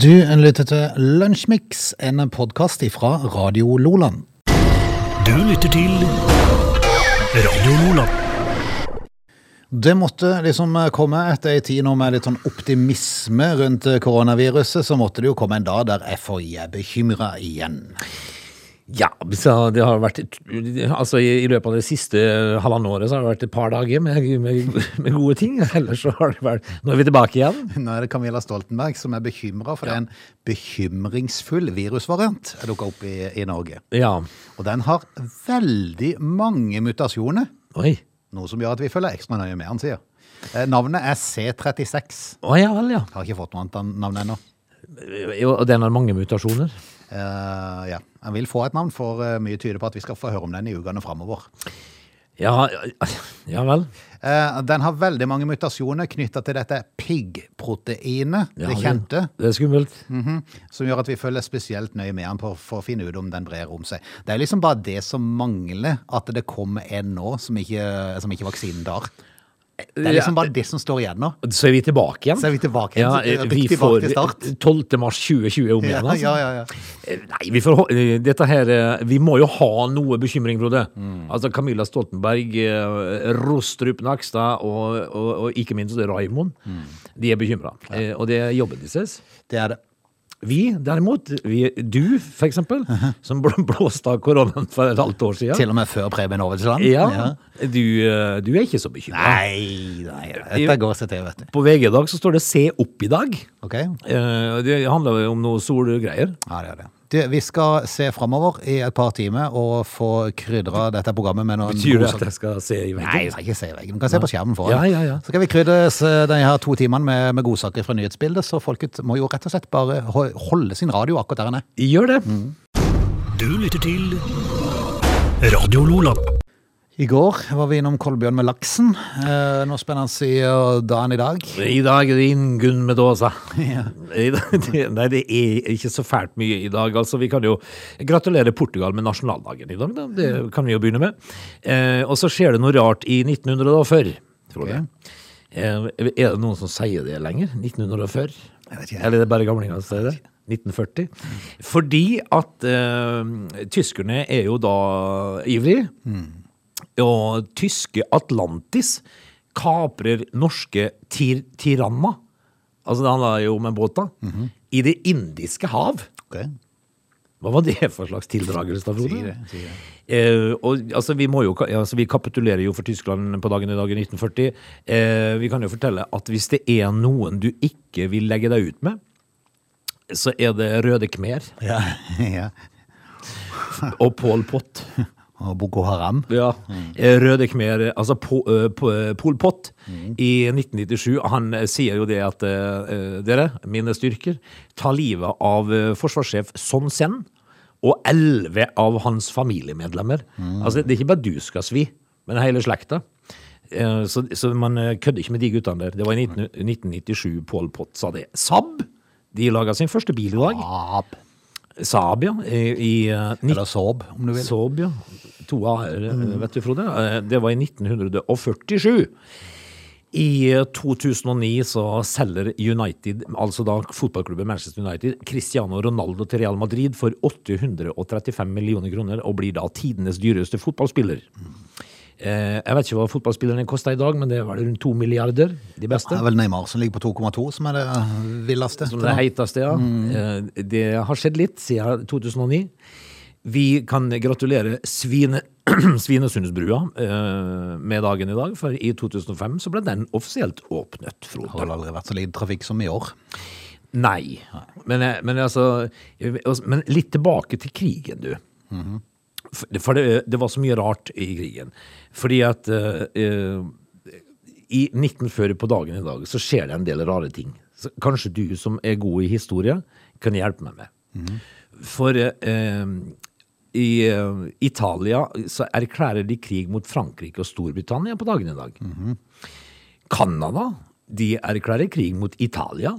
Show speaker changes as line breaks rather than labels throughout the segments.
Du lytter til Lunsjmix, en podkast fra Radio Loland.
Du lytter til Radio Nordland.
Det måtte liksom komme etter ei tid nå med litt sånn optimisme rundt koronaviruset, så måtte det jo komme en dag der FHI er bekymra igjen.
Ja, så det har vært Altså, i, i løpet av det siste halvannet året så har det vært et par dager med, med, med gode ting. Ellers så har det vært Nå er vi tilbake igjen.
Nå er det Camilla Stoltenberg som er bekymra, for det er en bekymringsfull virusvariant som dukka opp i, i Norge.
Ja.
Og den har veldig mange mutasjoner,
Oi.
noe som gjør at vi følger ekstra nøye med, han sier. Eh, Navnet er C36.
Å ja vel, ja.
Har ikke fått noe annet navn ennå.
Jo, Og den har mange mutasjoner.
Eh, ja. Han vil få et navn, for eh, mye tyder på at vi skal få høre om den i ukene framover.
Ja, ja vel.
Eh, Den har veldig mange mutasjoner knytta til dette piggproteinet,
Ja,
det kjente,
Det er skummelt.
som gjør at vi følger spesielt nøye med den på- for å finne ut om den brer om seg. Det er liksom bare det som mangler, at det kommer en nå som ikke, som ikke vaksinen tar. Det er liksom bare det som står igjen nå.
Så er vi tilbake igjen.
Så er vi tilbake igjen, så
Ja,
det er
vi
riktig tilbake til
får
start.
12. mars 2020 om igjen,
Ja,
altså.
ja, ja, ja.
Eh, Nei, vi, får, hå- eh, dette her, eh, vi må jo ha noe bekymring, Frode.
Mm.
Altså Camilla Stoltenberg, eh, Rostrup Nakstad og, og, og ikke minst Raimond.
Mm.
De er bekymra, eh, og det er jobben deres.
Det er det.
Vi derimot, vi, du for eksempel, som blå- blåste av koronaen for et halvt år siden.
Uh-huh. Til og med før Preben Aavitsland.
Ja, du, eh, du er ikke så bekymra.
Nei, nei, dette går seg til, vet du.
På VG i dag så står det 'se opp i dag'.
Ok?
Eh, og Det handler jo om noe solgreier.
Ja, det er det. Du, vi skal se framover i et par timer og få krydra dette programmet med noen
Betyr det
gode
at jeg skal se i veggen?
Nei, jeg skal ikke se i veggen. Du kan se på skjermen foran.
Ja, ja, ja.
Så skal vi krydre s- de her to timene med, med godsaker fra nyhetsbildet, så folket må jo rett og slett bare ho- holde sin radio akkurat der den er.
Gjør det.
Mm.
Du lytter til Radio Nordland.
I går var vi innom Kolbjørn med laksen. Eh, noe spennende i eh, dagen i dag.
I dag er det Ingunn Medoza.
Ja.
I dag- det- Nei, det er ikke så fælt mye i dag. Altså, vi kan jo gratulere Portugal med nasjonaldagen i dag. Da. Det kan vi jo begynne med. Eh, og så skjer det noe rart i 1900 og før. Tror jeg. Eh, er det noen som sier det lenger? 1900 og før?
Jeg vet ikke.
Eller er det bare gamlingene som sier det? 1940. Fordi at eh, tyskerne er jo da ivrige.
Mm.
Og tyske Atlantis kaprer norske tir tiranna. Altså det handler jo om en båt, da.
Mhm.
I Det indiske hav.
Ok.
Hva var det for slags tildragelse, da, Frode?
Si det, si det.
Eh, og, altså, vi, må jo, ka- altså, vi kapitulerer jo for Tyskland på dagen i dag i 1940. Eh, vi kan jo fortelle at hvis det er noen du ikke vil legge deg ut med, så er det Røde Khmer
Ja. ja.
og Pol Pot.
Og Boko Haram.
Ja. Eh, Røde Khmer, altså Po- eh, Po- eh, Pol Pot i 1997, han eh, sier jo det at eh, eh, dere, mine styrker, tar livet av eh, forsvarssjef Son Sen og elleve av hans familiemedlemmer. Altså, det er ikke bare du skal svi, men hele slekta. Eh, Så, så man eh, kødder ikke med de guttene der. Det var i 19, 1997 Pol Pot sa det. Saab! De laga sin første bil i dag.
Ab.
Saab, ja. I, i eh, 19...
Eller Saab, om du vil.
Saab, ja. To A-er, vet du, Frode. Eh, Det var i 1947. I eh, 2009 så selger United, altså da fotballklubben Manchester United, Cristiano Ronaldo til Real Madrid for 835 millioner kroner, og blir da tidenes dyreste fotballspiller. Eh, Jeg vet ikke hva fotballspillerne koster i dag, men det var rundt to milliarder, de beste.
Det er vel Neymar som ligger på 2,2 som er det villeste.
Som det heiteste, ja. Eh, Det har skjedd litt siden 2009. Vi kan gratulere Svine, Svinesundsbrua eh, med dagen i dag, for i 2005 så ble den offisielt åpnet, Frode.
Det har vel aldri vært så lite trafikk som i år.
Nei. Men, jeg- men altså Men litt tilbake til krigen, du. For, for det, det var så mye rart i krigen. Fordi at eh, eh, I 1940 på dagen i dag så skjer det en del rare ting. Så kanskje du som er god i historie, kan hjelpe meg med. For eh, eh, i eh, Italia så erklærer de krig mot Frankrike og Storbritannia på dagen i dag. Canada de erklærer krig mot Italia.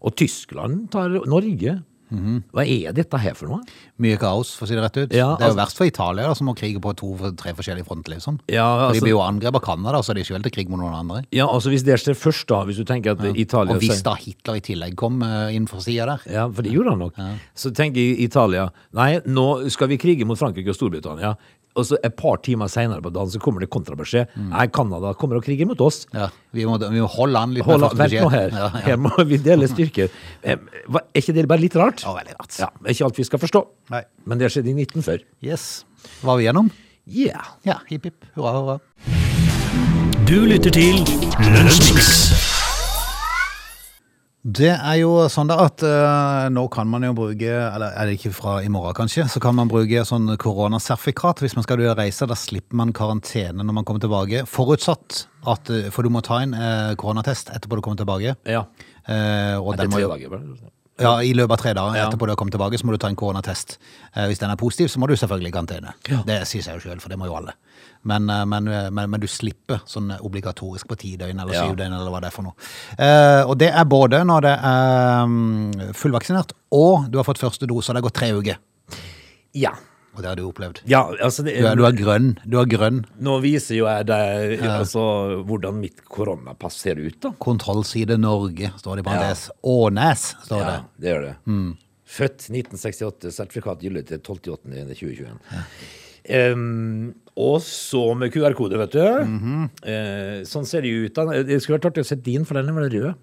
Og Tyskland tar Norge. Hva er dette her for noe?
Mye kaos, for å si det rett ut.
Ja,
det er jo
altså-
verst for Italia, da, som må krige på to-tre forskjellige fronter, liksom.
Ja,
For
altså-
de blir jo angrepet av Canada, så de er ikke helt til krig mot noen andre.
Ja, altså Hvis det skjer først, da, hvis du tenker at Italia altså.
Og hvis da Hitler i tillegg kom eh, inn fra sida der
Ja, for det gjorde han nok. Så tenker jeg Italia Nei, nå skal vi krige mot Frankrike og Storbritannia. Og så et par timer seinere på dagen så kommer det kontrabeskjed. Nei, Canada kommer og kriger mot oss.
Mm. ja, vi, må, vi må holde an litt. med
Hold,
første
vent nå
beskjed.
her. Her må vi dele styrker. Eh, hva- Er ikke det bare litt rart?
Ja, veldig rart.
Ja, ikke alt vi skal forstå.
Nei.
Men det skjedde i 1940.
Yes. Var vi gjennom?
Yeah.
Ja. Hipp hipp. Hurra, hurra.
Du lytter til Lunsjmix.
Det er jo sånn da at eh, nå kan man jo bruke, eller er det ikke fra i morgen kanskje, så kan man bruke sånn koronasertifikat hvis man skal ut og reise. Da slipper man karantene når man kommer tilbake. Forutsatt at eh, For du må ta en eh, koronatest etterpå du kommer tilbake.
Ja.
Eh, og
Det er
den må
tre
jo,
dager. bare.
ja, I løpet av tre dager
Ja.
etterpå du har kommet tilbake, så må du ta en koronatest. Eh, hvis den er positiv, så må du selvfølgelig i karantene.
Ja.
Det sier seg jo sjøl, for det må jo alle. Men, eh, men, eh, men, men du slipper sånn obligatorisk på ti døgn eller
Ja.
syv døgn, eller hva det er for noe. Eh, og det er både når det er mm, fullvaksinert og du har fått første dose, og det har gått tre uker.
Ja.
Og det har du opplevd.
ja altså det,
Du er, du er grønn. Du er grønn.
Nå viser jo jeg deg altså, hvordan mitt koronapass ser ut, da.
Kontrollside Norge, står det i parentes. Ånes, står det. Mm.
Ja, det gjør det. Født 1968, sertifikat gyldig til 12.8.2021. Ehm, og så med QR-kode, vet du.
Mhm.
Eh, sånn ser det jo ut. da. Det skulle vært artig å se din, for den er vel rød?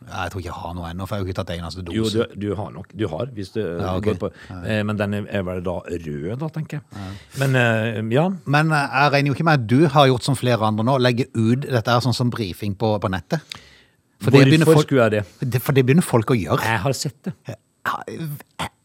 Jeg tror ikke jeg har noe ennå, for jeg har jo ikke tatt eneste dose.
Jo, du, du har nok. Du har, hvis du
Ja, ok.
går på. Eh, men den er- er vel da rød, da, tenker jeg. Men eh, ja.
Men eh, jeg regner jo ikke med at du har gjort som flere andre nå, legge ut dette her sånn som brifing på, på nettet. For det begynner
Hvorfor
folk,
skulle jeg det?
det, for det begynner folk å gjøre.
Jeg har sett det.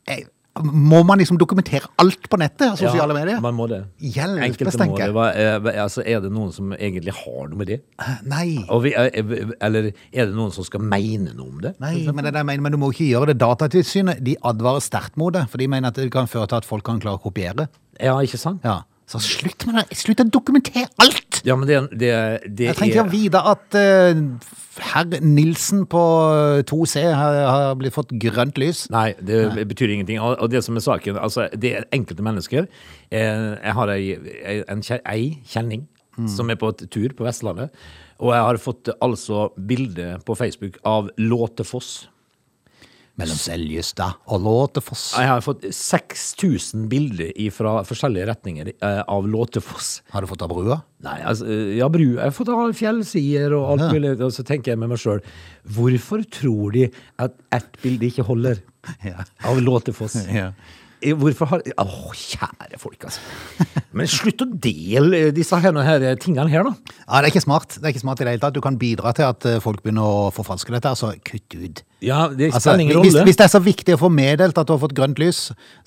Eh, Må man liksom dokumentere alt på nettet? av Sosiale
Ja,
medier?
Man må det.
Hjelpes,
Enkelte må
tenker
det.
jeg.
Hva, eh, hva- altså, er det noen som egentlig har noe med det?
Eh, Nei.
Og vi, er- er- eller er det noen som skal mene noe om det?
Nei, men, det er det jeg mener, men du må ikke gjøre det. Datatilsynet de advarer sterkt mot det, for de mener at det kan føre til at folk kan klare å kopiere.
Ja, ikke sant?
Ja. Så slutt med det! Slutt å dokumentere alt!
Ja, men det, det, det
Jeg trenger ikke å vite at eh, herr Nilsen på 2C har, har blitt fått grønt lys.
Nei, det betyr ingenting. Og og det som er saken, altså, det er enkelte mennesker. Eh, Jeg har ei, ei- en kje- ei kjenning
Mm.
som er på et tur på Vestlandet, og jeg har fått eh, altså bilde på Facebook av Låtefoss.
Mellom Seljestad og Låtefoss.
Jeg har fått 6000 bilder fra forskjellige retninger eh, av Låtefoss.
Har du fått av brua?
Nei, altså, ja, bru, jeg får ta fjellsider og alt
Ja.
mulig, og så tenker jeg med meg sjøl Hvorfor tror de at ett bilde ikke holder
Ja.
av Låtefoss?
Ja.
Eh, Hvorfor har Åh, kjære folk, altså. Men slutt å dele eh, disse her, her eh, tingene her, da.
Ja, det er ikke smart. Det er ikke smart i det hele tatt. Du kan bidra til at eh, folk begynner å forfalske dette, her, så kutt ut.
Ja, det
Altså,
spiller ingen
hvis,
rolle.
hvis det er så viktig å få meddelt at du har fått grønt lys,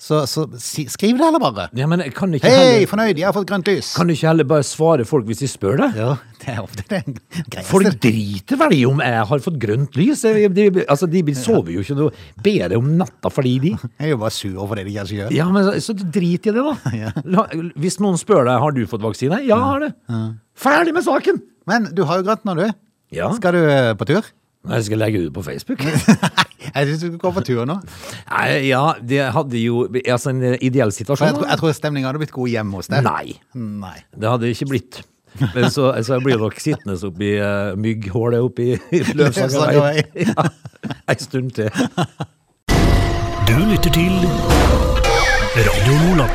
så, så si, skriv det heller bare.
Ja, men kan du ikke
Hei,
heller,
fornøyd, jeg har fått grønt lys.
kan du ikke heller bare svare folk hvis de spør deg?
Ja, det er ofte det greieste.
Folk driter vel i om jeg har fått grønt lys. Eh, De, altså, de sover jo ikke noe bedre om natta fordi de
Jeg er jo bare sur over det de kanskje gjør.
Ja, men så, så drit i det, da. La, hvis noen spør deg har du fått vaksine, ja, jeg har det. Ferdig med saken!
Men du har jo grønt nå, du.
Ja.
Skal du eh, på tur?
Jeg skal legge ut på Facebook.
jeg syns du skal gå på tur nå.
Nei, ja, det hadde jo altså en ideell
For jeg,
situasjon.
tror- jeg tror stemninga hadde blitt god hjemme hos deg.
Nei,
Nei.
det hadde ikke blitt. Men så, så jeg blir nok sittende oppi uh, mygghålet oppi i Løvsangervei
Løvsangervei.
ja, ei stund til.
Du lytter til Radio Lola.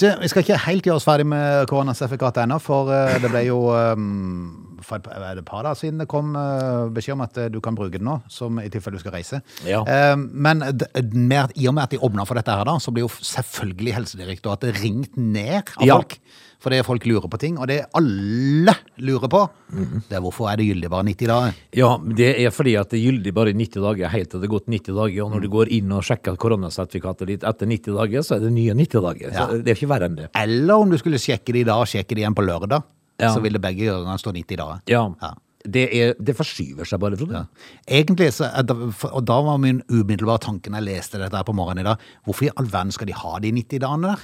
Du, vi skal ikke helt gjøre oss ferdig med koronasertifikatet ennå, for eh, det ble jo um, for et, er det et par dager siden det kom eh, beskjed om at eh, du kan bruke det nå, som i tilfelle du skal reise.
Ja.
Eh, men d- mer, i og med at de åpna for dette her, da, så blir jo selvfølgelig Helsedirektoratet ringt ned av
Ja.
folk. Fordi folk lurer på ting, og det alle lurer på,
Mhm.
det er hvorfor er det gyldig bare 90 dager?
Ja, men det er fordi at det er gyldig bare i 90 dager, helt til det er gått 90 dager. Og når du
Mm.
går inn og sjekker koronasertifikatet ditt etter 90 dager, så er det nye 90 dager.
Ja.
Så det er ikke verre enn det.
Eller om du skulle sjekke det i dag og sjekke det igjen på lørdag,
Ja.
så ville begge gangene stå 90 dager.
Ja.
Ja.
Det, er, det forskyver seg bare, Frode.
Egentlig, så, er det- for- og da var min umiddelbare tanke når jeg leste dette her på morgenen i dag, hvorfor i all verden skal de ha de 90 dagene der?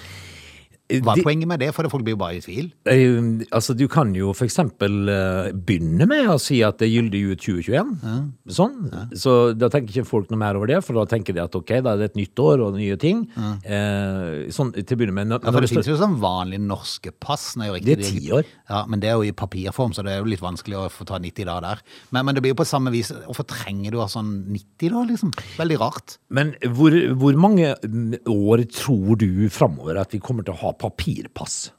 Hva er
de-
poenget med det? For folk blir jo bare i tvil.
Eh, Altså, du kan jo for eksempel eh, begynne med å si at det er gyldig ut 2021. Sånn. Så da tenker ikke folk noe mer over det, for da tenker de at ok, da er det et nytt år og nye ting. Eh, sånn til å begynne med. Når,
Ja, for
når
det
det
finnes
står,
jo sånn vanlige norske pass. Nei, jo riktig,
Det er ti år.
Ja, men det er jo i papirform, så det er jo litt vanskelig å få ta 90 dager der. Men, men det blir jo på samme vis. Hvorfor trenger du å ha sånn 90 da, liksom? Veldig rart.
men hvor, hvor mange mm, år tror du framover at vi kommer til å ha papirpass?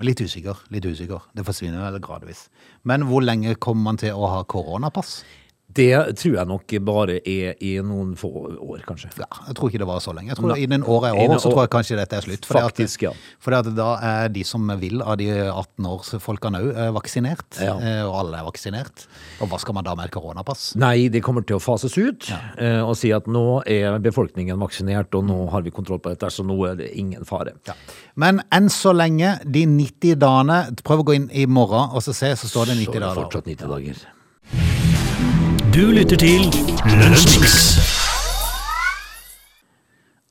Litt usikker, litt usikker. Det forsvinner vel gradvis. Men hvor lenge kommer man til å ha koronapass?
Det tror jeg nok bare er i noen få år, kanskje.
Ja, jeg tror ikke det var så lenge. Jeg tror
Nei.
Innen året er over,
Innen
så
år-
tror jeg kanskje dette er slutt. Fordi
Faktisk, ja.
Fordi at da er de som vil av de 18-årsfolkene òg vaksinert.
Ja.
eh, Og alle er vaksinert. Og hva skal man da med et koronapass?
Nei, det kommer til å fases ut eh, og si at nå er befolkningen vaksinert, og nå har vi kontroll på dette, så nå er det ingen fare.
Ja. Men enn så lenge, de 90 dagene Prøv å gå inn i morgen og så se, så står det 90
Så er det
dager.
Fortsatt 90 dager.
Du lytter til Lunsjmix.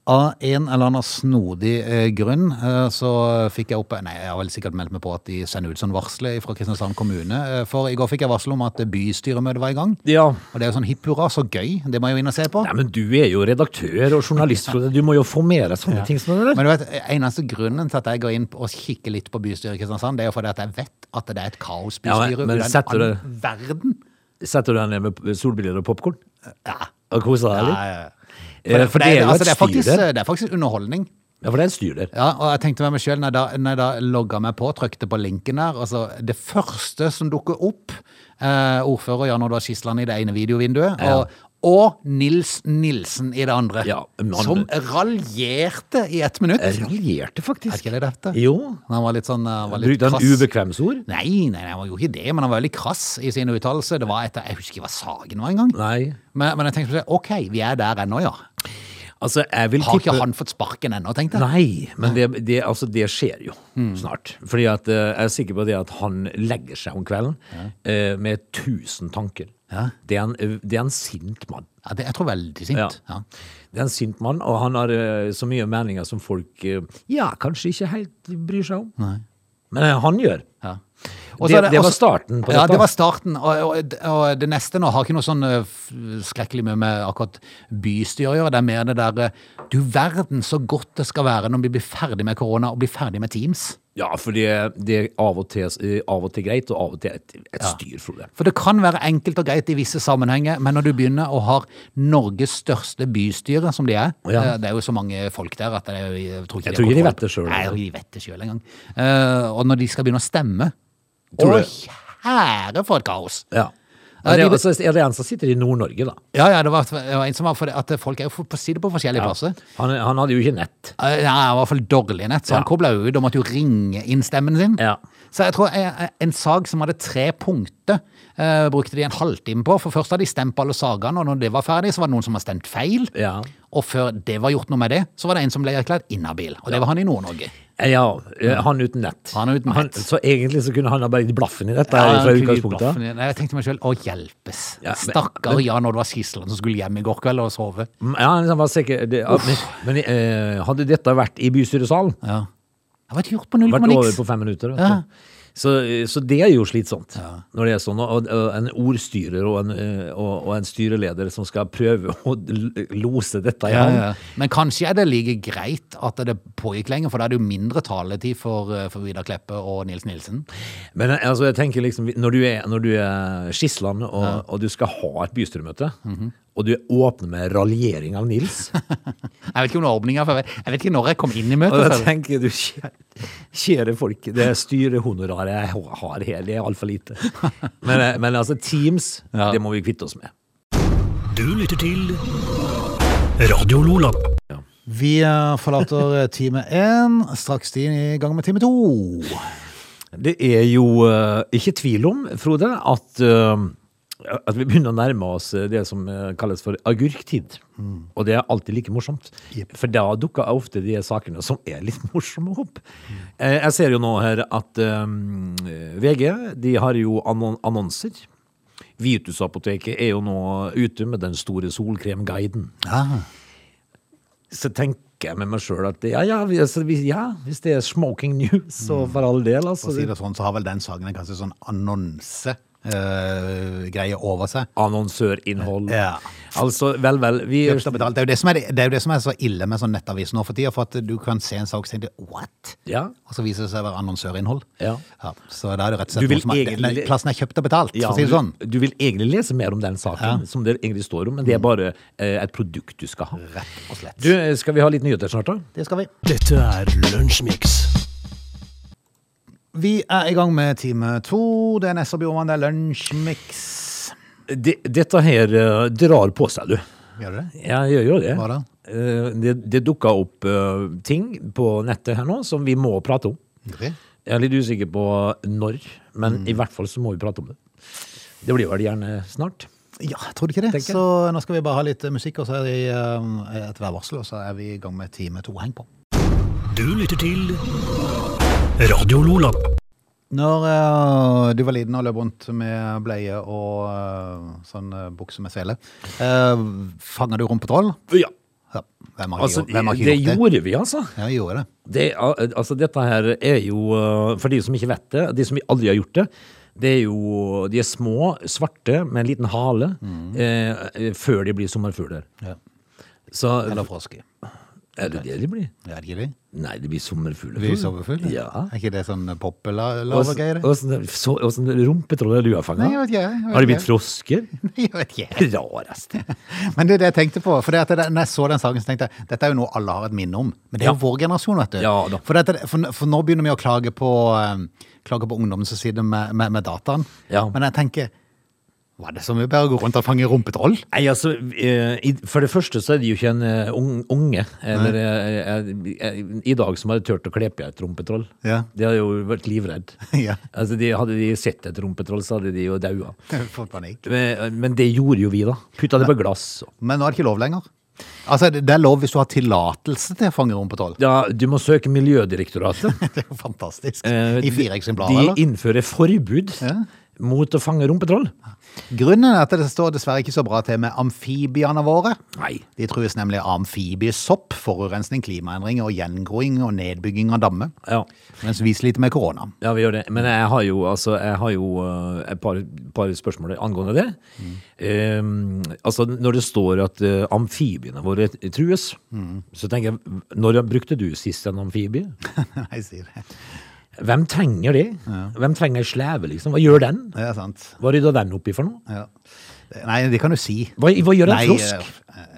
Av en eller annen snodig eh, grunn eh, så fikk jeg opp Nei, jeg har vel sikkert meldt meg på at de sender ut sånn varsler fra Kristiansand kommune. Eh, for i går fikk jeg varsel om at bystyremøtet var i gang.
Ja.
Og det er jo sånn hipp hurra, så gøy. Det må jeg jo inn og se på.
Nei, men du er jo redaktør og journalist, Frode. du må jo få med deg sånne ting som det der.
Men du vet, eneste grunnen til at jeg går inn og kikker litt på bystyret i Kristiansand, det er jo fordi at jeg vet at det er et kaosbystyre
Ja,
ja,
men- men setter du-
verden.
Setter du deg ned med solbriller og popkorn? Ja. Og koser deg litt?
Ja, ja.
Eh,
For, det, er,
jo
altså, det, er
et
faktisk,
styr der.
det er faktisk underholdning.
Ja, for det er et styr der.
Ja, og jeg tenkte med meg selv når jeg da, når jeg da logga meg på, trykte på linken der, altså det første som dukker opp, eh, ordfører Jan Oddvar Skisland i det ene videovinduet,
Ja.
og, og Nils Nilsen i det andre,
Ja, men han-
som raljerte i ett minutt.
Jeg raljerte
Er
faktisk.
ikke det dette?
Eh, Jo.
Han var litt sånn eh, var litt
Brukte han
krass.
ubekvemsord?
Nei, nei, nei, han var jo ikke det, men han var veldig krass i sin uttalelse. Det var etter, jeg husker ikke hva saken var engang.
Nei.
Men, men jeg tenkte på det, ok, vi er der ennå, ja.
Altså, jeg vil
Har
tippe
ikke han fått sparken ennå, tenkte jeg.
Nei, men det, det, altså, det skjer jo
Mm.
snart. Fordi at, eh, jeg er sikker på det at han legger seg om kvelden eh, med tusen tanker.
Ja.
Det, er en, eh, det er en sint mann.
Ja, det, jeg tror veldig sint.
Ja.
Ja.
Det er en sint mann, og han har eh, så mye meninger som folk eh, ja, kanskje ikke helt bryr seg om. Men eh, han gjør.
Ja.
Det- det var starten på
ja,
dette.
det var starten. Og, og, og det neste nå har ikke noe sånn eh, f- skrekkelig mye med akkurat bystyret å gjøre. Det er mer det der eh, Du verden så godt det skal være når vi blir ferdig med korona og blir ferdig med Teams.
Ja, for det, det er av og, til, eh, av og til greit, og av og til et, et styr, Frode.
For det kan være enkelt og greit i visse sammenhenger, men når du begynner og har Norges største bystyre, som de er
Ja.
eh, Det er jo så mange folk der at det er, jo- jeg tror ikke,
Jeg tror ikke de
har
vet det selv.
kontroll. Nei, jeg tror ikke de vet det sjøl engang. Eh, og når de skal begynne å stemme Å,
Tror du-
kjære for et kaos!
Ja.
Ja,
Er det,
de-
altså, er det en som sitter i Nord-Norge, da?
Ja, ja, det var, det var en som var for det, at folk er jo for- på side på forskjellige plasser.
Han, han hadde jo ikke nett.
Eh, Ja, i hvert fall dårlig nett, så han
Ja.
kobla jo ut og måtte jo ringe inn stemmen sin.
Ja.
Så jeg tror eh, en sag som hadde tre punkter, eh, brukte de en halvtime på. For først hadde de stemt på alle sagene, og når det var ferdig, så var det noen som hadde stemt feil.
Ja.
Og før det var gjort noe med det, så var det en som ble erklært inhabil. Og det var han i Nord-Norge.
Ja, eh, han uten nett.
Han uten nett.
så egentlig så kunne han ha bare gitt blaffen i dette
Ja,
her fra
han kunne gitt blaffen
utgangspunktet.
i- Nei, Jeg tenkte meg sjøl å hjelpes.
Ja, men-
Stakkar Jan Oddvar Skisland som skulle hjem i går kveld og sove.
Mm, Ja, han var sikker det, ja, Men, men eh, hadde dette vært i bystyresalen,
Ja. Det var gjort på null
vært
komma
over
niks.
på fem minutter. Vet
Ja.
du. Så, eh, så det er jo slitsomt når det er sånn. Og, og en ordstyrer og en, eh, og, og en styreleder som skal prøve å l- lose dette i
Ja,
havn.
ja. Men kanskje er det like greit at det pågikk lenger, for da er det jo mindre taletid for, eh, for Vidar Kleppe og Nils Nilsen.
Men eh, altså, jeg tenker liksom, når du er, når du er Skisland, og, og du skal ha et bystyremøte,
Mhm.
og du åpner med raljering av Nils
Jeg vet ikke om det var åpninga, for jeg vet, jeg vet ikke når jeg kom inn i
Og
møtet. altså.
da
selv.
tenker du, kjære- kjære folk, det styrehonoraret jeg har her, det er altfor lite. Men, eh, men altså, Teams,
Ja.
det må vi kvitte oss med.
Du lytter til Radio Lola.
Vi eh, forlater time én, straks de i gang med time to.
Det er jo eh, ikke tvil om, Frode, at, eh, at vi begynner å nærme oss eh, det som eh, kalles for agurktid. Og det er alltid like morsomt. For da dukker ofte de sakene som er litt morsomme opp. Eh, Jeg ser jo nå her at eh, VG, de har jo annon annonser. Vitusapoteket er jo nå ute med den store solkremguiden. så tenker jeg med meg sjøl at ja, ja, vi- altså, vi- ja, hvis det er smoking news, så for all del,
For
altså.
å si det sånn, så har vel den saken en kanskje sånn annonsegreie over seg.
Annonsørinnhold.
Ja.
Altså, vel, vel. Vi,
Kjøpt og betalt. Det er jo det som er, det er, jo det som er så ille med sånn nettavis nå for tida, for at du kan se en sak og tenke what?
Ja.
Og så viser det seg å være annonsørinnhold.
Ja.
så da er det rett og slett
Du vil
noe som er,
egentlig-
den- Plassen er kjøpt og betalt,
Ja,
for å si det sånn.
du, du vil egentlig lese mer om den saken, som det egentlig står om, men det er bare eh, et produkt du skal ha.
Rett og slett.
Du, eh, skal vi ha litt nyheter snart, da?
Det skal vi.
Dette er Lunsjmix.
Vi er i gang med time to. Det er Nessa Bjormann, det er lunsjmix.
Det, dette her eh, drar på seg, du.
Gjør du det?
Ja, jeg gjør jo det.
Hva da?
Eh, Det, det dukka opp eh, ting på nettet her nå som vi må prate om.
Okay.
Jeg er litt usikker på når, men
Mm.
i hvert fall så må vi prate om det. Det blir vel gjerne snart.
Ja, tror du ikke det?
Tenker jeg.
Så nå skal vi bare ha litt eh, musikk, og så er det eh, et værvarsel, og så er vi i gang med time to. Heng på.
Du lytter til Radio Lola.
Når eh, du var liten og løp rundt med bleie og eh, sånn eh, bukse med sele, uh, fanga du rumpetroll?
Ja,
Ja, hvem har ikke,
altså,
gjort- hvem har ikke
det
gjort det?
gjorde vi, altså.
Ja, jeg gjorde det.
Det, er- altså. Dette her er jo, eh, for de som ikke vet det, de som aldri har gjort det, det er jo De er små, svarte, med en liten hale,
Mm.
eh, eh, før de blir sommerfugler.
Ja.
Så
Eller froske.
er det det de blir?
Er det ikke det?
Nei, de blir sommerfugler.
Vi soverfugler?
Ja.
Er ikke det sånn poppelavergreier?
Åssen så- åssen rumpetroll er du har fanga?
Nei, jeg vet ikke, jeg vet
Har de blitt
ikke.
frosker?
Jeg vet ikke.
Rarest.
Men det er det jeg tenkte på. For det at det, når jeg så den saken, så tenkte jeg dette er jo noe alle har et minne om. Men det er jo
Ja.
vår generasjon, vet du.
Ja da.
for, dette, for, for nå begynner vi å klage på, eh, klage på ungdommen som sitter med, med, med dataen.
Ja.
Men jeg tenker var det så mye bedre å gå rundt og fange rumpetroll?
Nei, altså, eh, i- For det første så er det jo ikke en eh, ung- unge eller, eh, eh, i dag som hadde turt å kle på et rumpetroll.
Ja.
De hadde jo vært livredd.
Ja.
Altså, de, hadde de sett et rumpetroll, så hadde de jo daua.
Fått panikk.
Men, men det gjorde jo vi, da. Putta det på glass. og-
Men nå er det ikke lov lenger. Altså, det det er lov hvis du har tillatelse til å fange rumpetroll.
Ja, du må søke Miljødirektoratet.
Det er jo fantastisk.
Eh,
I fire eksemplarer, eller?
De innfører forbud
Ja.
mot å fange rumpetroll.
Grunnen er at det står dessverre ikke så bra til med amfibiene våre.
Nei.
De trues nemlig av amfibiesopp, forurensning, klimaendringer og gjengroing og nedbygging av dammer.
Ja.
Mens vi sliter med korona.
ja, vi gjør det. Men jeg har jo, altså, jeg har jo eh, et par, par spørsmål angående det.
Mm.
Eh, altså, når det står at eh, amfibiene våre trues,
Mm.
så tenker jeg, når brukte du sist en amfibie?
Nei, si det.
Hvem trenger det? Hvem trenger ei sleve, liksom? Hva gjør den?
Det er sant.
Hva rydder den oppi for noe?
Ja. Nei, det kan du si.
Hva, hva gjør en
Nei,
frosk?
eh,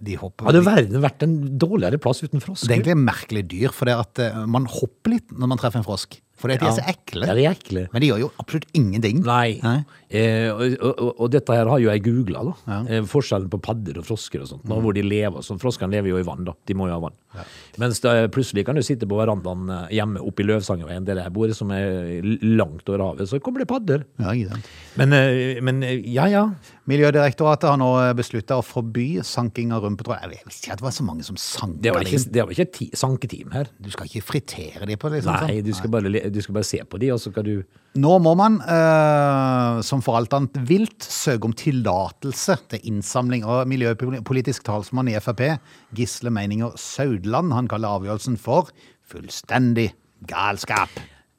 De hopper
Hadde
Det
verden vært en dårligere plass uten
er
frosker?
egentlig et merkelig dyr, for det at eh, man hopper litt når man treffer en frosk. For de er så
Ja,
ekle.
de er ekle.
Men de gjør jo absolutt ingenting.
Nei.
Nei.
Eh, og, og, og dette her har jo jeg googla, da. Eh, forskjellen på padder og frosker og sånt. Nå, Hvor de lever og sånn. Froskene lever jo i vann, da. De må jo ha vann. Mens det, plutselig kan du sitte på verandaen eh, hjemme oppe i Løvsangerveien, der jeg bor, som er l- langt over havet, så kommer det padder.
Ja, ikke sant.
Men, eh, men eh, ja ja.
Miljødirektoratet har nå beslutta å forby sanking av rumpetroll. Jeg visste ikke at det var så mange som sanker
Det var ikke,
de.
det var ikke et ti, sanketeam her.
Du skal ikke fritere de på det? Liksom,
Nei,
sånn.
du skal, bare, le- du skal bare se på de, og så skal du
Nå må man, eh, som for alt annet vilt, søke om tillatelse til innsamling. Og miljøpolitisk talsmann i Frp, Gisle Meininger Saudland, han kaller avgjørelsen for fullstendig galskap.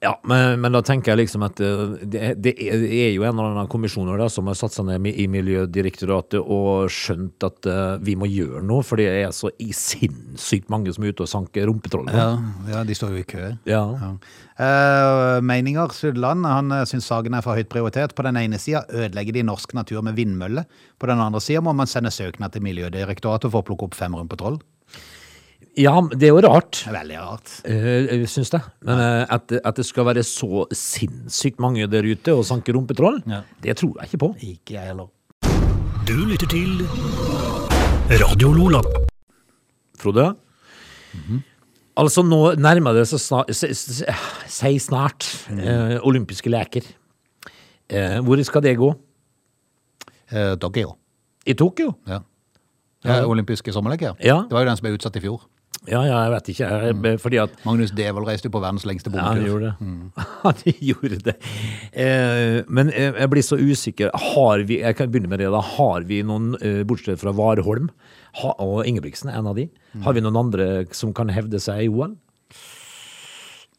Ja, men, men da tenker jeg liksom at eh, det, det er det er jo en eller annen kommisjoner da, som har satt seg ned i Miljødirektoratet og skjønt at eh, vi må gjøre noe, for det er så i sinnssykt mange som er ute og sanker rumpetroll. nå.
Ja, de står jo i kø.
Ja.
Eh, Meininger Sudland han eh, syns saken er for høyt prioritet. På den ene sida ødelegger de norsk natur med vindmøller. På den andre sida må man sende søknad til Miljødirektoratet for å plukke opp fem rumpetroll.
ja, men det er jo rart,
Det er veldig rart.
uh, syns jeg. Men eh, at, at det skal være så sinnssykt mange der ute og sanke rumpetroll,
Ja.
det tror jeg ikke på.
Ikke jeg heller.
Du lytter til Radio Lola.
Frode. Altså, nå nærmer det seg snart se- se- Si snart eh, olympiske leker. Eh, hvor skal det gå?
Eh, Tokyo.
I Tokyo?
Ja. Ja, olympiske sommerleker.
Ja.
Det var jo den som ble utsatt i fjor.
Ja, ja, jeg vet ikke. Jeg, Fordi at
Magnus Devold reiste jo på verdens lengste
Ja, han
bombetur.
gjorde det.
Mm.
Han gjorde det. Eh, men eh, jeg blir så usikker. Har vi, jeg kan begynne med det da, har vi noen, eh, bortsett fra Warholm ha, og Ingebrigtsen, er en av de,
Mm.
har vi noen andre som kan hevde seg i OL?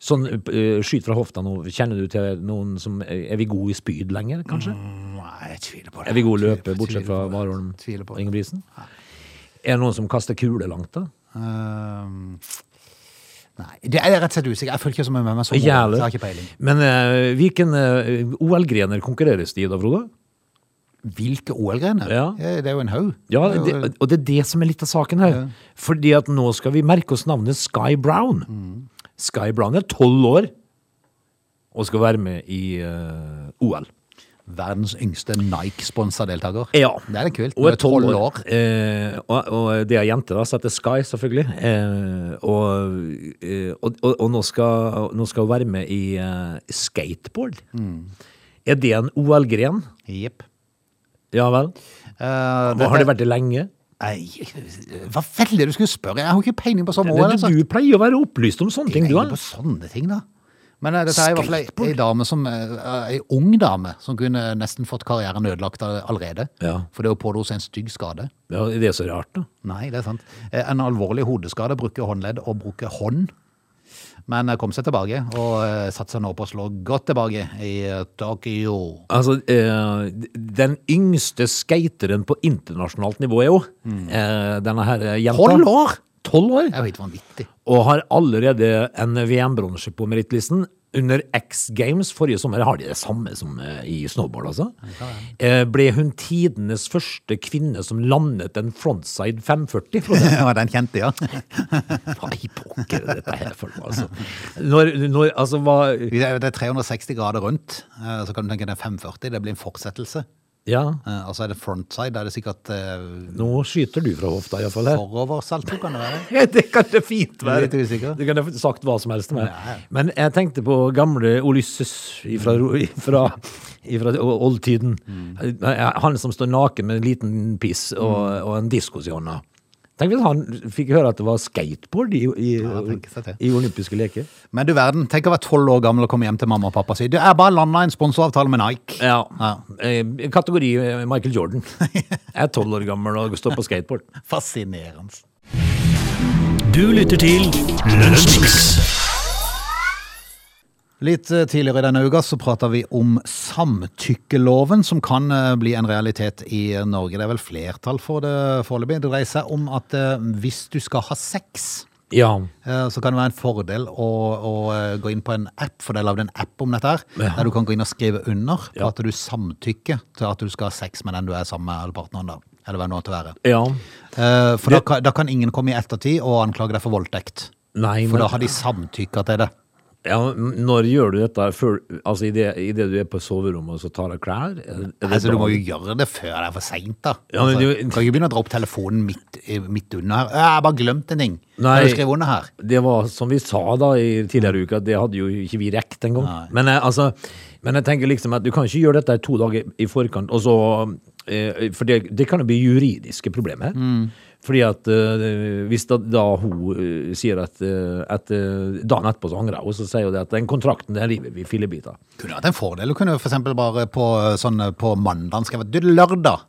Sånn eh, skyt fra hofta nå, kjenner du til noen som eh, Er vi gode i spyd lenger, kanskje?
Nei, jeg tviler på det.
Er vi gode i
Mm. Tviler-
løpe,
tviler
bortsett fra
på det.
Warholm
Tviler på
og
det.
Ingebrigtsen? Er det noen som kaster kule langt, da?
Ehm, nei, det er jeg rett og slett usikker. Jeg følger ikke så mye med meg så måte.
Jævlig.
Jeg har ikke peiling.
Men eh, hvilken eh, OL-grener konkurreres de i da, Frode?
Hvilke OL-grener?
Ja.
Eh, Det er jo en haug.
Ja,
Det er
det,
jo-
og det er det som er litt av saken her. Fordi at nå skal vi merke oss navnet Sky Brown. Sky Brown er tolv år og skal være med i eh, OL.
Verdens yngste Nike-sponsa deltaker.
Ja.
Det er litt kult.
Og
Hun
er tolv år. Eh, og, og det er jente, da, så heter Sky, selvfølgelig. Eh, og, eh, og, og, og nå skal nå skal hun være med i eh, skateboard. Er det en OL-gren?
Jepp.
Ja vel.
Eh,
Har det vært det lenge?
Nei, hva vel er det du skulle spørre? Jeg har jo ikke peiling på sånne OL.
Du,
altså.
du pleier å være opplyst om sånne ting,
Jeg
du.
tenker
da.
på sånne ting, da. Men eh, dette er i hvert fall ei- ei dame som eh, Ei ung dame som kunne nesten fått karrieren ødelagt all- allerede.
Ja.
For det å pådro seg en stygg skade.
Ja, det er så rart, da.
Nei, det er sant. Eh, En alvorlig hodeskade, bruker håndledd og bruker hånd. Men eh, kom seg tilbake, og eh, satser nå på å slå godt tilbake i eh, Tokyo.
Altså, eh, den yngste skateren på internasjonalt nivå er jo eh, denne her jenta.
Tolv år!
Tolv år!
Det er jo helt vanvittig.
Og har allerede en VM-bronse på merittlisten. Under X Games forrige sommer har de det samme som eh, i snowboard, altså. Eh, ble hun tidenes første kvinne som landet en frontside 540? Frode?
Ja, den kjente, ja.
Hva i pokker er dette her for noe, altså? Når, når, altså, hva
Det er det er 360 grader rundt, eh, så kan du tenke deg 540, det blir en fortsettelse.
Ja,
Eh, Og så er det frontside, da er det sikkert eh,
nå skyter du fra hofta, iallfall.
foroversalto, kan det være.
Det kan det fint være.
Litt usikker.
Du kan ha sagt hva som helst til meg.
Ja.
Men jeg tenkte på gamle Olysses fra, fra, oldtiden.
Mm.
Han som står naken med en liten piss og, og en diskos i hånda. Tenk hvis han fikk høre at det var skateboard i, i,
tenker seg til.
i olympiske leker.
Men du verden, tenk å være tolv år gammel og komme hjem til mamma og pappa og si du, jeg bare landa en sponsoravtale med Nike.
Ja.
Ja.
Eh, Kategori eh, Michael Jordan. Jeg er tolv år gammel og står på skateboard.
Fascinerende.
Du lytter til Lunsjmix.
Litt eh, tidligere i denne uka så prata vi om samtykkeloven, som kan eh, bli en realitet i eh, Norge. Det er vel flertall for det foreløpig. Det dreier seg om at eh, hvis du skal ha sex,
Ja.
eh, så kan det være en fordel å, å eh, gå inn på en app, for det er lagd en app om dette her,
Ja.
der du kan gå inn og skrive under på
Ja.
at du samtykker til at du skal ha sex med den du er sammen med, eller partneren, da. Eller hvem det måtte være.
ja.
Eh, For da kan, da kan ingen komme i ettertid og anklage deg for voldtekt.
Nei,
For da har de samtykka til det.
Ja, m- når gjør du dette? Før, altså i det, i det du er på soverommet og så tar av klær? Er, er det
Altså, du
da-
må jo gjøre det før det er for seint, da.
Ja, men
altså,
du-
du kan ikke begynne å dra opp telefonen midt, eh, midt under her. «Æ, 'Jeg har bare glemt en ting.'
Nei.
Kan du skrive under her?
Det var som vi sa da i tidligere uke, at det hadde jo ikke vi rekt engang. Men, eh, altså, men jeg tenker liksom at du kan ikke gjøre dette to dager i forkant, og så, eh, for det, det kan jo bli juridiske problemer.
Mm.
Fordi at eh, hvis da, da hun eh, sier at, eh, at eh, dagen etterpå så angrer hun, så sier hun det at den kontrakten den river vi i fillebiter.
Kunne vært en fordel. Du kunne for eksempel bare på, eh, sånn, eh, på mandag skrevet 'Du, lørdag,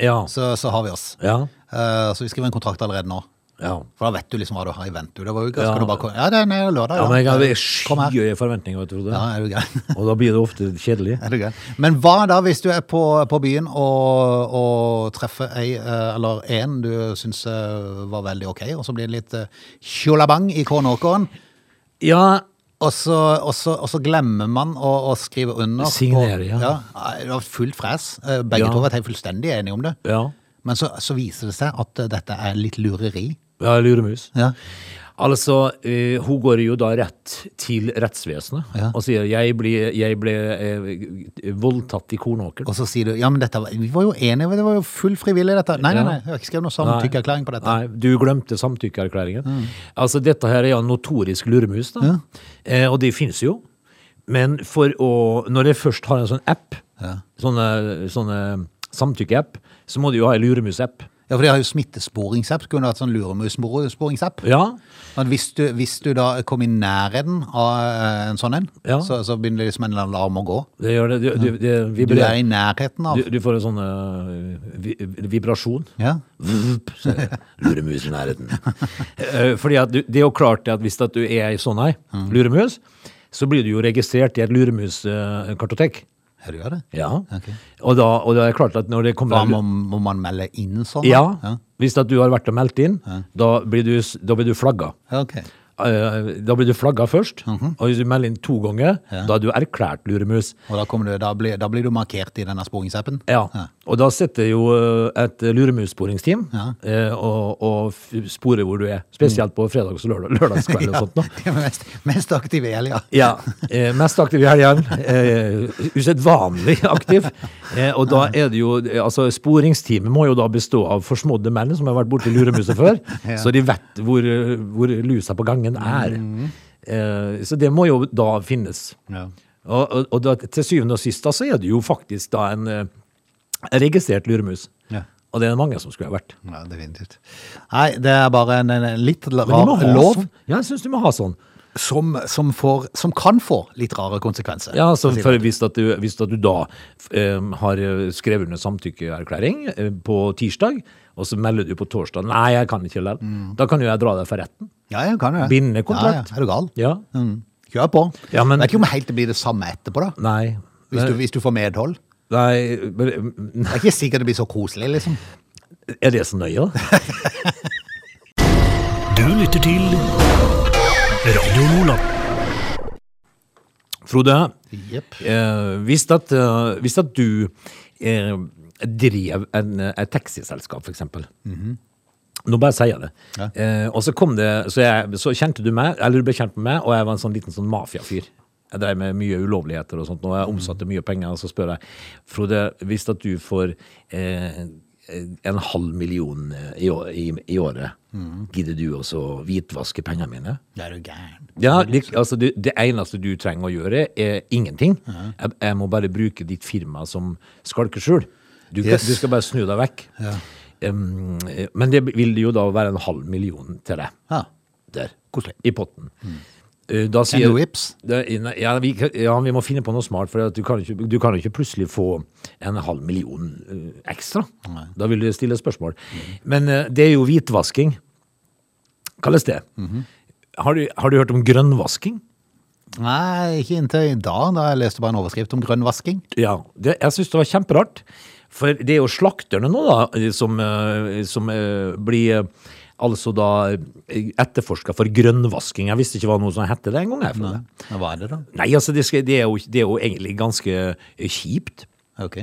Ja.
så, så har vi oss'.
Ja.
Eh, så vi skriver en kontrakt allerede nå.
Ja.
For da vet du liksom hva du har i vente. Det var jo ikke,
Ja.
skal du bare komme Ja, det er nei, det er lørdag,
Ja, men jeg hadde
Kom her.
skyhøye forventninger, vet du, Frode.
Ja, er du gæren?
Og da blir det ofte kjedelig.
Er det gøy? Men hva da hvis du er på, på byen og, og treffer ei eh, eller en du syns eh, var veldig ok, og så blir det litt eh, tjolabang i Krånåkeren,
Ja,
og så, og, så, og så glemmer man å, å skrive under. på-
Signere, ja.
ja. Det var fullt fres. Eh, Begge
Ja.
to var helt fullstendig enige om det.
ja.
Men så, så viser det seg at eh, dette er litt lureri.
Ja, luremus.
Ja.
Altså, eh, hun går jo da rett til rettsvesenet
Ja.
og sier jeg ble, jeg ble eh, voldtatt i Kornåker.
Og så sier du ja, men dette, var- vi var jo enige, det var jo full frivillig dette. Nei,
Ja.
nei, nei, jeg har ikke skrevet noen
Nei.
samtykkeerklæring på dette.
Nei, du glemte samtykkeerklæringen. Altså, dette her er jo en notorisk luremus, da. Eh, og de finnes jo. Men for å, når jeg først har en sånn app, sånne, sånne samtykkeapp, så må du jo ha en luremus-app.
Ja, for de har jo smittesporingsapp. Kunne hatt sånn luremussporingsapp.
Ja,
Men hvis du, hvis du da kom i nærheten av eh, en sånn en,
Ja.
så, så begynner det liksom en alarm å gå.
det gjør det. Du, du, det
Du
vibrerer.
er i nærheten av.
Du, du får en sånn øh, vi, vibrasjon.
Ja.
Vvvp, så er det Luremus i nærheten. Eh, Fordi at du, det er jo klart det at hvis at du er i sånn ei, luremus, så blir du jo registrert i et luremuskartotek.
Ja, du gjør det.
Ja.
Ok.
Og, da, og da er det klart at når det kommer
Hva må, må man melde inn sånn? da?
Ja. Hvis at du har vært og meldt inn, da blir du, s- da blir du flagga.
ja. Ok.
Eh, Da blir du flagga først,
Mhm.
og hvis du melder inn to ganger, da er du erklært luremus.
Og da, kommer du, da, blir, da blir du markert i denne sporingsappen?
Ja, og da sitter jo eh, et luremussporingsteam
Ja. Mm.
eh, og, og f- sporer hvor du er, spesielt på fredags- og lørdag, lørdagskveld og sånt. Da.
de er mest, mest aktive i helga.
Ja, eh, Mest aktiv i helgene. Eh, Usedvanlig aktiv. Eh, og da er det jo eh, altså Sporingsteamet må jo da bestå av forsmådde menn som har vært borti luremuset før,
Ja.
så de vet hvor, eh, hvor lusa på gangen er.
Mm.
Eh, så det må jo da finnes.
Ja.
Og, og, og da, til syvende og sist da, så er det jo faktisk da en eh, registrert luremus.
Ja.
Og det er det mange som skulle ha vært.
Ja, definitivt. Nei, det er bare en, en litt
Men de må
rar
ha
lov
Sånn. Ja, jeg syns du må ha sånn.
som, som, får, som kan få litt rare konsekvenser.
Ja, altså,
for å si det.
for hvis, at du, hvis at du da eh, har skrevet under samtykkeerklæring eh, på tirsdag, og så melder du på torsdag Nei, jeg kan ikke likevel.
Mm.
Da kan jo jeg dra deg for retten.
Ja, ja, kan jo det.
Bindende kontrakt.
Ja, ja. Er du gal?
Ja.
Mm. Kjør på.
Ja, men-
Vet ikke om helt det blir det samme etterpå, da.
Nei.
Hvis du, hvis du får medhold.
Nei, men- eh,
Det er ikke sikkert det blir så koselig, liksom.
er det så nøye, da?
Du lytter til Radio Lola.
Frode,
Jepp.
eh, hvis, at, eh, hvis at du eh, drev en, eh, et taxiselskap, for eksempel. Nå bare sier jeg det.
Mhm. Ja.
Eh, og så kom det, så, jeg, så kjente du meg, eller du ble kjent med meg, og jeg var en sånn liten sånn mafiafyr. Jeg drev med mye ulovligheter og sånt, og jeg omsatte mye penger, og så spør jeg, Frode, hvis at du får eh, en halv million eh, i, år, i, i året,
Mhm.
gidder du også hvitvaske pengene mine?
Da er du gæren.
Ja, det, altså det, det eneste du trenger å gjøre, er ingenting. Jeg, jeg må bare bruke ditt firma som skalkeskjul. Du, kan-
Yes.
du skal bare snu deg vekk. Um, men det vil jo da være en halv million til deg.
Ja.
Der.
Koselig.
I potten. Uh, Da sier,
Can you whips?
Da- nei, ja, vi, kan- ja, vi må finne på noe smart, for at du kan jo ikke, du kan jo ikke plutselig få en halv million uh, ekstra. Da vil du stille spørsmål. Men uh, det er jo hvitvasking. Kalles det. har, du, har du hørt om grønnvasking?
Nei, ikke inntil i dag, da jeg leste bare en overskrift om grønn vasking.
Ja, det, jeg synes det var kjemperart. For det er jo slakterne nå da, som, eh, som eh, blir eh, altså da etterforska for grønnvasking. Jeg visste ikke hva noe som hette det en gang. Jeg, Frode.
Ja, Hva er det, da?
Nei, altså det, skal, det, er jo, det er jo egentlig ganske eh, kjipt.
Ok.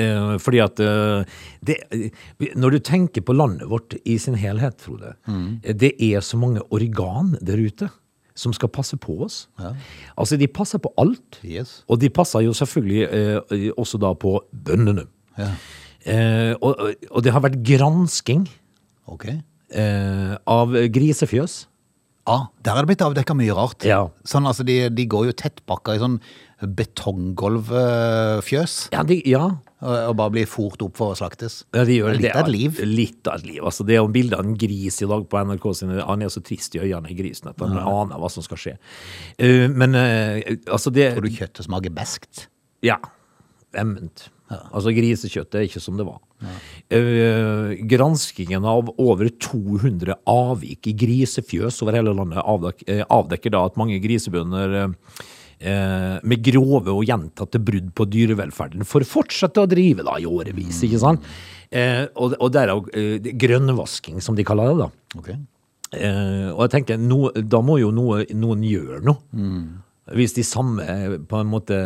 Eh, fordi at eh, det, eh, Når du tenker på landet vårt i sin helhet, Frode eh, Det er så mange organ der ute som skal passe på oss. Altså, de passer på alt.
Yes.
Og de passer jo selvfølgelig eh, også da på bøndene.
Ja.
Eh, og, og det har vært gransking
Ok.
eh, av grisefjøs.
Ah, der er det blitt avdekka mye rart.
Ja.
Sånn, altså, de, de går jo tettpakka i sånn betonggolvfjøs
Ja, de, ja,
og, og bare blir fort opp for å slaktes.
Ja, de gjør
Det er litt
det.
av et liv.
Litt av et liv. Altså, det er jo bilde av en gris i dag på NRK sine Han er så trist i øynene, grisen, at han aner hva som skal skje. Eh, men eh, altså det
Tror du kjøttet smaker beskt?
Ja. Emment. Altså, grisekjøttet er ikke som det var. Eh, granskingen av over 200 avvik i grisefjøs over hele landet avdek, eh, avdekker da at mange grisebønder eh, eh, med grove og gjentatte brudd på dyrevelferden får fortsette å drive da i årevis, ikke sant? Eh, og, og derav eh, grønnvasking, som de kaller det, da.
Ok.
Eh, og jeg tenker, no, da må jo noe, noen gjøre noe. Hvis de samme, eh, på en måte,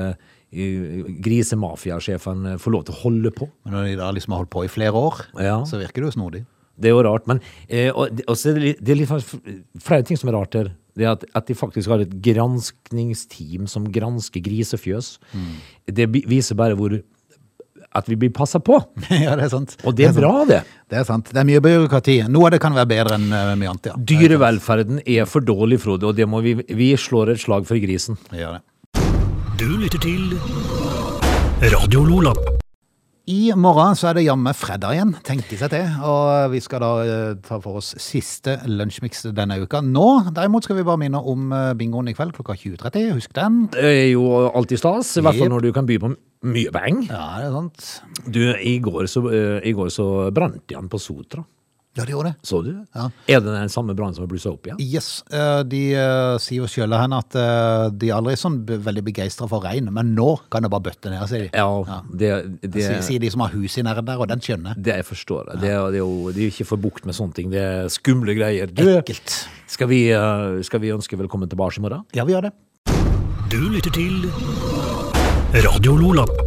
eh, grisemafiasjefen eh, får lov til å holde på.
Men når de da liksom har holdt på i flere år,
Ja.
så virker det jo snodig.
Det er jo rart, men eh, og, og så er det, litt- det er litt, fa- flere ting som er rart her. Det er at, at de faktisk har et granskningsteam som gransker grisefjøs. Det bi- viser bare hvor at vi blir passa på.
ja, det er sant.
Og det er
sant.
bra, det.
Det er sant. Det er mye byråkrati. Noe av det kan være bedre enn eh, mye annet, ja.
Dyrevelferden er for dårlig, Frode, og det må vi, vi slår et slag for grisen.
Det gjør det.
Du lytter til Radio Lola.
I morgen så er det jammen fredag igjen, tenke seg til. Og vi skal da eh, ta for oss siste lunsjmix denne uka. Nå derimot skal vi bare minne om eh, bingoen i kveld klokka 20.30. Husk den.
Det er jo alltid stas, i hvert
Jep.
fall når du kan by på m- mye bang.
Ja, det er sant.
Du, i går så, eh, i går så brant han på Sotra.
Ja, de gjorde det.
Så du det?
Ja.
Er det den samme brannen som har blussa opp igjen?
Yes, eh, de eh, sier jo sjøl her at eh, de aldri er sånn be- veldig begeistra for regn, men nå kan det bare bøtte ned, sier de.
Ja, det, det,
Sier- Sier de som har hus i nærheten der, og den skjønner.
det jeg forstår jeg. Det, er- det er jo det er jo ikke for bukt med sånne ting. Det er skumle greier. Du,
Ekkelt.
skal vi, eh, skal vi ønske velkommen tilbake i morgen?
Ja, vi gjør det.
Du lytter til Radio Lola.